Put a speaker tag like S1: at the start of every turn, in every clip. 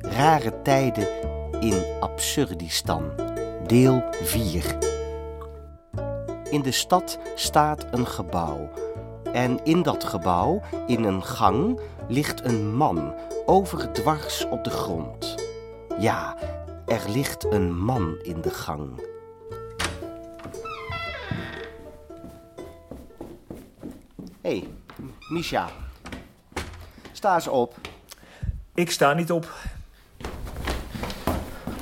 S1: Rare tijden in Absurdistan, deel 4. In de stad staat een gebouw. En in dat gebouw, in een gang, ligt een man overdwars op de grond. Ja, er ligt een man in de gang. Hé, hey, Misha. Sta eens op.
S2: Ik sta niet op.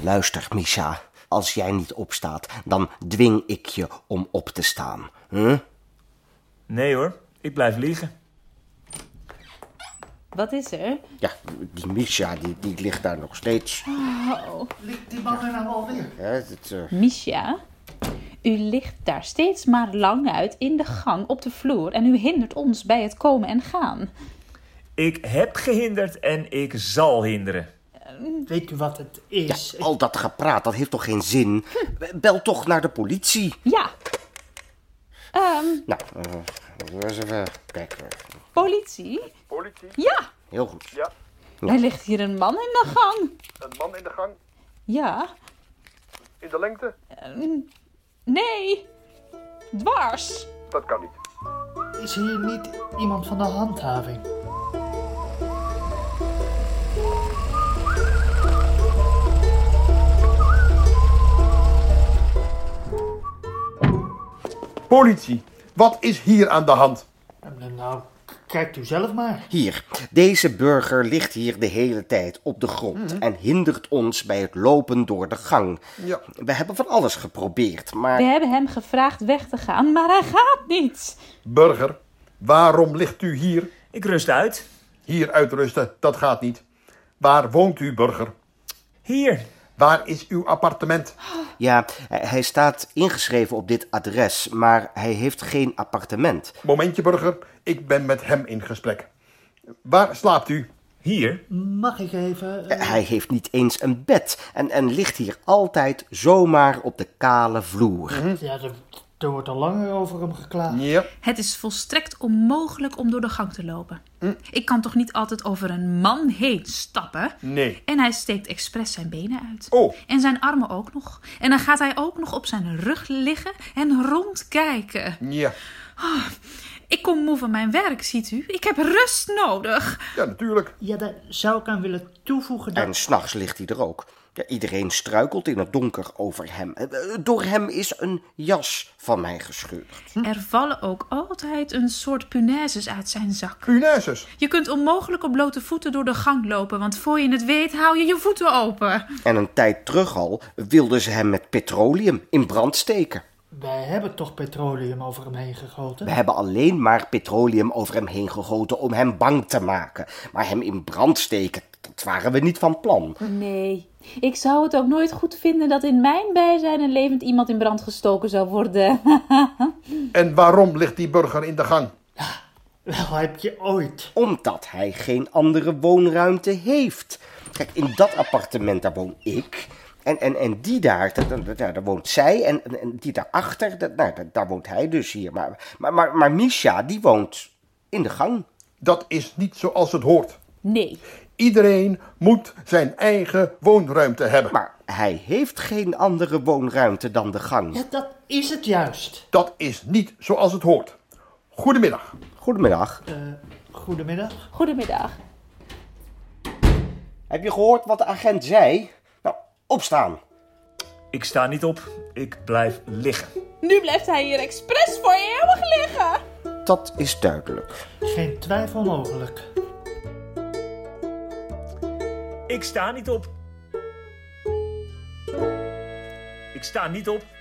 S1: Luister, Misha. Als jij niet opstaat, dan dwing ik je om op te staan. Huh?
S2: Nee hoor, ik blijf liggen.
S3: Wat is er?
S1: Ja, die Misha, die, die ligt daar nog steeds.
S3: Oh,
S4: Ligt die man er nou alweer?
S1: Hè, het, eh,
S3: Misha, u ligt daar steeds maar lang uit in de gang op de vloer en u hindert ons bij het komen en gaan.
S2: Ik heb gehinderd en ik zal hinderen.
S4: Weet u wat het is?
S1: al dat gepraat, dat heeft toch geen zin? Bel toch naar de politie.
S3: Ja,
S1: Nou, eh, laten we eens even kijken.
S3: politie?
S5: Politie,
S3: Ja,
S1: Heel goed.
S5: ja.
S3: er ligt hier een man in de gang.
S5: Een man in de gang,
S3: Ja,
S5: in de lengte.
S3: nee, dwars.
S5: Dat kan niet.
S4: Is hier niet iemand van de handhaving?
S6: Politie, wat is hier aan de hand?
S4: Eh, Nou, k- kijkt u zelf maar.
S1: Hier, deze burger ligt hier de hele tijd op de grond
S4: Mhm.
S1: en hindert ons bij het lopen door de gang.
S6: Ja.
S1: We hebben van alles geprobeerd, maar
S3: We hebben hem gevraagd weg te gaan, maar hij gaat niet.
S6: Burger, waarom ligt u hier?
S2: Ik rust uit.
S6: Hier uitrusten, dat gaat niet. Waar woont u, burger?
S2: Hier.
S6: Waar is uw appartement?
S1: ja, hij- hij staat ingeschreven op dit adres, maar hij heeft geen appartement.
S6: Momentje, burger, ik ben met hem in gesprek. Waar slaapt u?
S2: Hier.
S4: Mag ik even... eh,
S1: Hij heeft niet eens een bed en, en ligt hier altijd zomaar op de kale vloer.
S4: Ja, er, er wordt al langer over hem geklaagd.
S6: Ja.
S7: Het is volstrekt onmogelijk om door de gang te lopen. Ik kan toch niet altijd over een man heen stappen?
S6: Nee.
S7: En hij steekt expres zijn benen uit.
S6: Oh.
S7: En zijn armen ook nog. En dan gaat hij ook nog op zijn rug liggen en rondkijken.
S6: Ja.
S7: Ik kom moe van mijn werk, ziet u. Ik heb rust nodig.
S6: Ja, natuurlijk.
S4: Ja, daar zou ik aan willen toevoegen dat...
S1: En s'nachts ligt hij er ook. Ja, iedereen struikelt in het donker over hem. Eh, eh, Door hem is een jas van mij gescheurd.
S7: Er vallen ook altijd een soort punaises uit zijn zak.
S6: Punaises.
S7: Je kunt onmogelijk op blote voeten door de gang lopen, want voor je het weet hou je je voeten open.
S1: En een tijd terug al wilden ze hem met petroleum in brand steken.
S4: Wij hebben toch petroleum over hem heen gegoten?
S1: We hebben alleen maar petroleum over hem heen gegoten om hem bang te maken. Maar hem in brand steken, dat waren we niet van plan.
S3: Nee, ik zou het ook nooit goed vinden dat in mijn bijzijn een levend iemand in brand gestoken zou worden.
S6: En waarom ligt die burger in de gang?
S4: Wel, heb je ooit.
S1: Omdat hij geen andere woonruimte heeft. Kijk, in dat appartement daar woon ik. En, en, en die daar, daar, daar, daar- daar woont zij. En, en- en die daarachter, daar, nou, daar, daar woont hij dus hier. Maar, maar, maar, maar Misha, die woont in de gang.
S6: Dat is niet zoals het hoort.
S3: Nee,
S6: Iedereen moet zijn eigen woonruimte hebben.
S1: Maar hij heeft geen andere woonruimte dan de gang.
S4: Ja, dat is het juist.
S6: Dat is niet zoals het hoort. Goedemiddag.
S1: Goedemiddag.
S4: Eh, goedemiddag.
S3: goedemiddag.
S1: Heb je gehoord wat de agent zei? Nou, opstaan.
S2: Ik sta niet op. Ik blijf liggen.
S3: Nu blijft hij hier expres voor eeuwig liggen.
S1: Dat is duidelijk.
S4: Geen twijfel mogelijk.
S2: Ik sta niet op. Ik sta niet op.